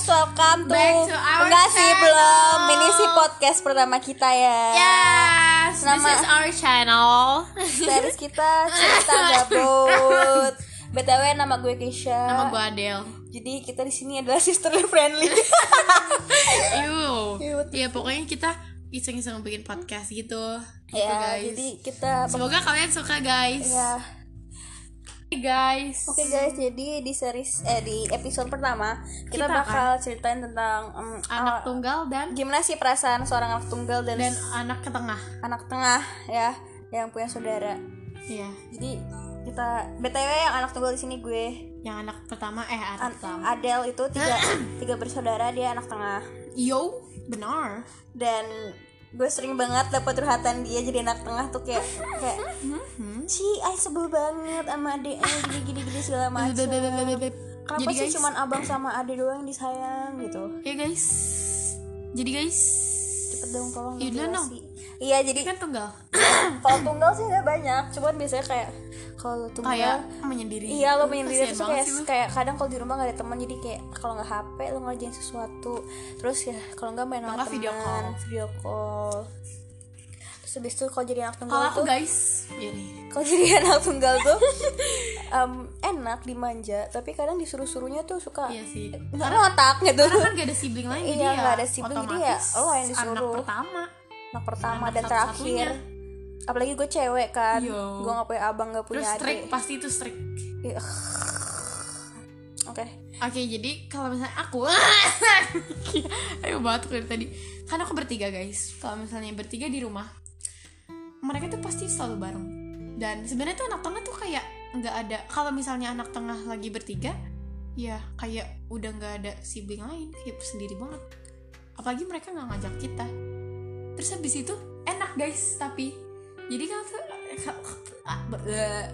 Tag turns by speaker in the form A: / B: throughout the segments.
A: Welcome back to our
B: Enggak sih
A: channel.
B: belum. Ini sih podcast pertama kita ya.
A: Yes,
B: Nama-
A: this is our channel.
B: Dari kita cerita gabut. BTW nama gue Keisha.
A: Nama gue Adele.
B: Jadi kita di sini adalah sisterly friendly.
A: Gitu, Ew.
B: Ya, what
A: Ya pokoknya kita iseng-iseng bikin podcast gitu. Gitu,
B: ya,
A: guys.
B: jadi kita
A: Semoga kalian suka guys.
B: ya.
A: Hey, guys.
B: Oke guys, jadi di series eh di episode pertama kita,
A: Kita
B: bakal ceritain tentang em,
A: Anak
B: awal-
A: tunggal dan
B: gimana sih perasaan seorang anak tunggal dan,
A: dan anak ketengah.
B: anak tengah ya yang punya saudara.
A: Iya.
B: Jadi kita BTW yang anak tunggal di sini gue
A: Yang anak pertama eh anak
B: An-
A: pertama.
B: Adele itu tiga tiga bersaudara dia anak tengah
A: Yo, benar.
B: dan gue sering banget dapat curhatan dia jadi anak tengah tuh kayak kayak
A: Hmm.
B: Ci, ay sebel banget sama adek gini gini gini segala macam. Kenapa
A: Jadi
B: sih
A: guys,
B: cuman abang sama adek doang yang disayang gitu?
A: ya guys. Jadi guys,
B: Cepet dong tolong
A: You don't know.
B: sih Iya jadi
A: kan tunggal.
B: kalau tunggal sih nggak banyak, cuman biasanya kayak kalau tunggal
A: Kayak menyendiri.
B: Iya lo main diri
A: Kasihan
B: tuh
A: banget
B: kayak,
A: sih lu.
B: kayak kadang kalau di rumah gak ada teman jadi kayak kalau nggak HP lo ngerjain sesuatu terus ya kalau nggak main sama
A: nggak video
B: teman,
A: call.
B: video call terus habis itu kalau jadi anak tunggal
A: Kalau aku
B: Oh, tuh
A: guys, iya ini
B: kalau jadi anak tunggal tuh em, enak dimanja tapi kadang disuruh suruhnya tuh suka
A: Iya sih.
B: nggak ngotak gitu
A: Karena kan gak ada sibling lain jadi
B: Iya,
A: ya
B: nggak ada sibling, jadi ya
A: otomatis
B: lo yang
A: Anak
B: disuruh.
A: pertama
B: anak pertama
A: anak
B: dan
A: satu-satunya.
B: terakhir apalagi gue cewek kan
A: Yo.
B: gue nggak punya abang nggak
A: Terus
B: punya
A: strict,
B: adik
A: pasti itu strict
B: Ih, oke
A: Oke jadi kalau misalnya aku Ayo batuk dari tadi Kan aku bertiga guys Kalau misalnya bertiga di rumah Mereka tuh pasti selalu bareng Dan sebenarnya tuh anak tengah tuh kayak nggak ada Kalau misalnya anak tengah lagi bertiga Ya kayak udah nggak ada sibling lain Kayak sendiri banget Apalagi mereka nggak ngajak kita Terus habis itu enak guys tapi Jadi kalau tuh ah, eh.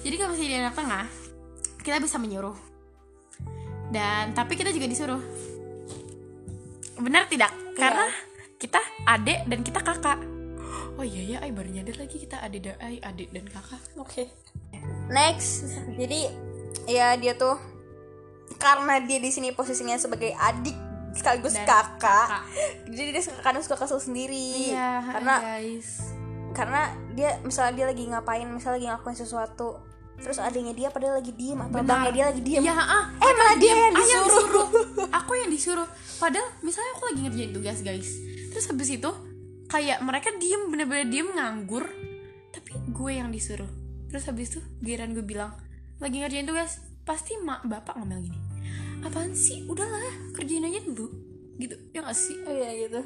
A: Jadi kalau misalnya di anak tengah Kita bisa menyuruh dan tapi kita juga disuruh benar tidak karena kita adik dan kita kakak oh iya ya ay baru nyadar lagi kita adik dan ay adik dan kakak
B: Oke. Next. Jadi ya dia tuh karena dia di sini posisinya sebagai adik sekaligus
A: Dan
B: kakak.
A: kakak
B: Jadi dia suka- kadang suka kesel sendiri.
A: iya hai
B: karena
A: guys
B: karena dia misalnya dia lagi ngapain, misalnya lagi ngakuin sesuatu. Terus adiknya dia padahal lagi diem atau abangnya dia lagi diem.
A: iya ah
B: eh malah dia yang
A: Ah,
B: disuruh.
A: yang disuruh aku yang disuruh padahal misalnya aku lagi ngerjain tugas guys terus habis itu kayak mereka diem bener-bener diem nganggur tapi gue yang disuruh terus habis itu giliran gue bilang lagi ngerjain tugas pasti mak bapak ngomel gini apaan sih udahlah kerjain aja dulu gitu ya gak sih
B: Oh, Iya gitu.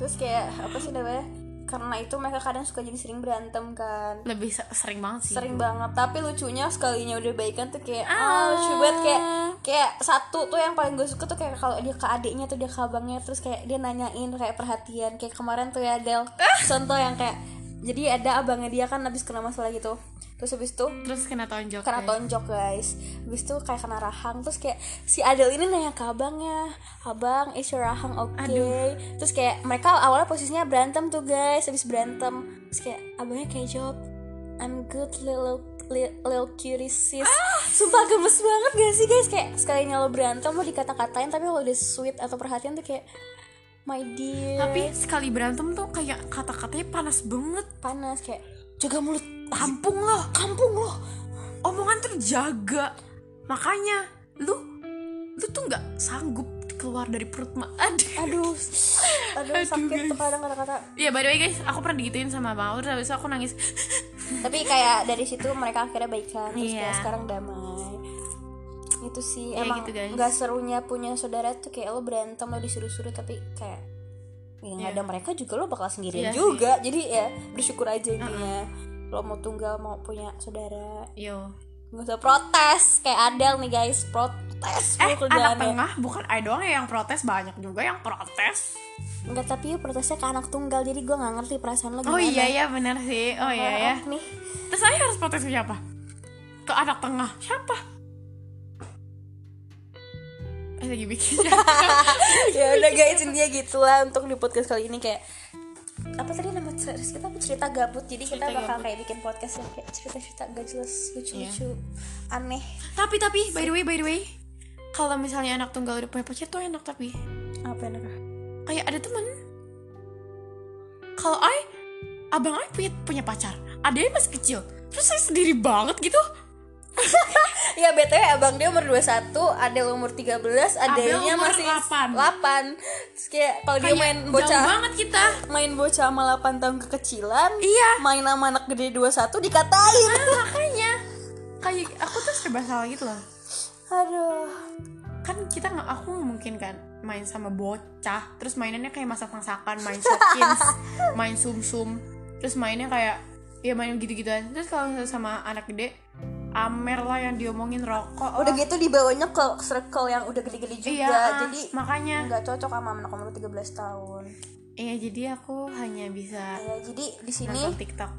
B: Terus kayak apa sih namanya? Karena itu mereka kadang suka jadi sering berantem kan.
A: lebih se- sering banget sih
B: sering banget tapi lucunya sekalinya udah baikan tuh kayak ah
A: Ah.
B: lucu banget kayak kayak satu tuh yang paling gue suka tuh kayak kalau dia ke adiknya tuh dia ke abangnya terus kayak dia nanyain kayak perhatian kayak kemarin tuh ya Del contoh yang kayak jadi ada abangnya dia kan habis kena masalah gitu terus habis itu
A: terus kena tonjok
B: kena
A: guys.
B: tonjok guys habis itu kayak kena rahang terus kayak si Adel ini nanya ke abangnya abang is your rahang oke terus kayak mereka awalnya posisinya berantem tuh guys habis berantem terus kayak abangnya kayak jawab I'm good little li- little cutie sis
A: Ah.
B: sumpah gemes banget gak sih guys kayak sekalinya lo berantem lo dikata-katain tapi lo udah sweet atau perhatian tuh kayak my dear
A: tapi sekali berantem tuh kayak kata-katanya panas banget
B: panas kayak jaga mulut
A: tampung loh
B: kampung lo
A: omongan terjaga makanya lu lu tuh nggak sanggup keluar dari perut mak aduh
B: aduh aduh,
A: Aduh,
B: sakit tuh
A: guys.
B: kadang kata-kata
A: ya by the way guys aku pernah digituin sama bang terus habis itu aku nangis
B: tapi kayak dari situ mereka akhirnya baikan terus kayak
A: Iya.
B: sekarang damai itu sih
A: Ya,
B: emang
A: gitu, guys.
B: nggak serunya punya saudara tuh kayak lo berantem lo disuruh-suruh tapi kayak ya nggak ada mereka juga lo bakal sendirian
A: Iya
B: juga jadi ya bersyukur aja intinya lo mau tunggal mau punya saudara
A: yo
B: nggak usah protes kayak Adel nih guys protes
A: eh
B: mulu
A: anak
B: kerjaannya.
A: tengah bukan I doang ya yang protes banyak juga yang protes
B: nggak tapi ya protesnya ke anak tunggal jadi gue nggak ngerti perasaan lo gimana
A: oh iya ya bener sih oh iya ya
B: Maaf nih
A: terus saya harus protes ke siapa ke anak tengah siapa Eh, lagi bikin
B: ya udah
A: Gitu.
B: guys intinya gitulah untuk di podcast kali ini kayak apa tadi nama series kita apa? cerita gabut jadi kita
A: Cerita
B: bakal
A: gabut.
B: kayak bikin podcast yang
A: Iya.
B: kayak cerita cerita gak jelas lucu lucu aneh
A: tapi tapi by the way by the way kalau misalnya anak tunggal udah punya pacar tuh enak tapi
B: apa ya, enaknya
A: kayak ada temen kalau I abang I punya, punya pacar adanya masih kecil terus saya sendiri banget gitu
B: Ya BTW abang dia umur 21, ada umur 13, adanya
A: umur
B: masih
A: 8.
B: 8. Terus kayak kalau dia
A: kayak
B: main
A: jauh
B: bocah
A: banget kita
B: main bocah sama 8 tahun kekecilan,
A: Iya.
B: main sama anak gede 21 dikatain.
A: Nah, makanya kayak aku tuh serba salah gitu loh
B: Aduh.
A: kan kita nggak aku nggak mungkin kan main sama bocah terus mainannya kayak masak masakan main shopkins main sum sum terus mainnya kayak ya main gitu gituan terus kalau misalnya sama anak gede Amer lah yang diomongin rokok
B: Udah
A: lah.
B: gitu dibawanya ke circle yang udah gede-gede juga.
A: iya
B: jadi
A: makanya
B: nggak cocok sama anak umur 13 tahun.
A: iya jadi aku hanya bisa
B: Ya, jadi di sini
A: nonton TikTok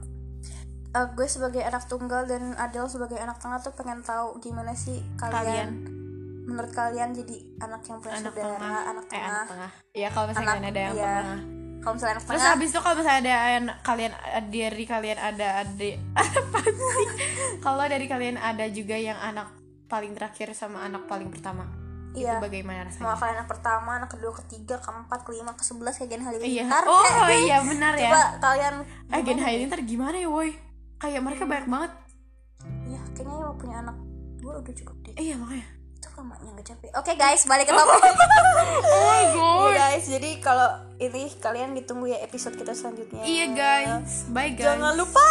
B: eh, gue sebagai anak tunggal dan Adel sebagai anak tengah tuh pengen tahu gimana sih
A: Kalian.
B: kalian, menurut kalian jadi anak yang punya
A: anak
B: saudara,
A: tengah
B: anak
A: eh
B: tengah.
A: anak tengah ya kalau misalnya
B: Anak-
A: ada yang
B: iya.
A: tengah
B: Kalau misalnya anak
A: terus
B: tengah
A: habis itu kalau misalnya ada yang- kalian dari kalian ada adik apa sih kalau dari kalian ada juga yang anak paling terakhir sama anak paling pertama
B: Iya.
A: itu bagaimana rasanya
B: mau kalian anak pertama, anak kedua, ketiga, keempat, kelima, ke sebelas kayak Gen
A: iya
B: Halilintar
A: oh
B: kayak gitu.
A: iya benar ya
B: Coba kalian
A: eh Gen Halilintar gimana ya woi kayak mereka banyak banget
B: Ya kayaknya yang mau punya anak dua udah cukup deh
A: iya makanya
B: Itu kamarnya gak capek Oke guys balik ke topik
A: oh
B: Iya,
A: god
B: guys jadi kalau ini kalian ditunggu ya episode kita selanjutnya
A: iya guys bye guys
B: Jangan lupa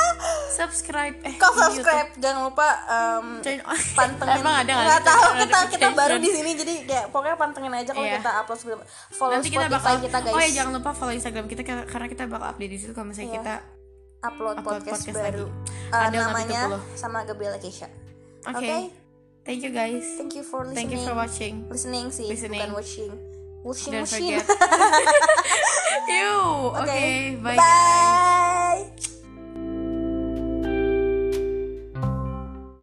A: subscribe eh
B: kau
A: di
B: subscribe Jangan lupa em,
A: YouTube. Join on.
B: pantengin
A: emang ada
B: nggak tahu kita kita baru di
A: notification?
B: sini jadi kayak pokoknya pantengin aja kalau
A: Iya.
B: kita upload sebelum follow
A: nanti kita
B: Spotify
A: bakal
B: kita guys
A: oh ya jangan lupa follow Instagram kita kar- karena kita bakal update di situ kalau misalnya
B: Iya.
A: kita
B: upload,
A: Upload
B: podcast,
A: podcast
B: baru
A: lagi.
B: Eh,
A: Ada nggak
B: namanya
A: tuh, Polo?
B: sama Gabriela Keisha
A: oke
B: Okay.
A: thank you guys
B: thank you for listening
A: thank you for watching
B: listening sih
A: Listening.
B: bukan watching watching
A: don't
B: watching
A: forget you oke
B: Okay.
A: bye,
B: Bye.
A: guys.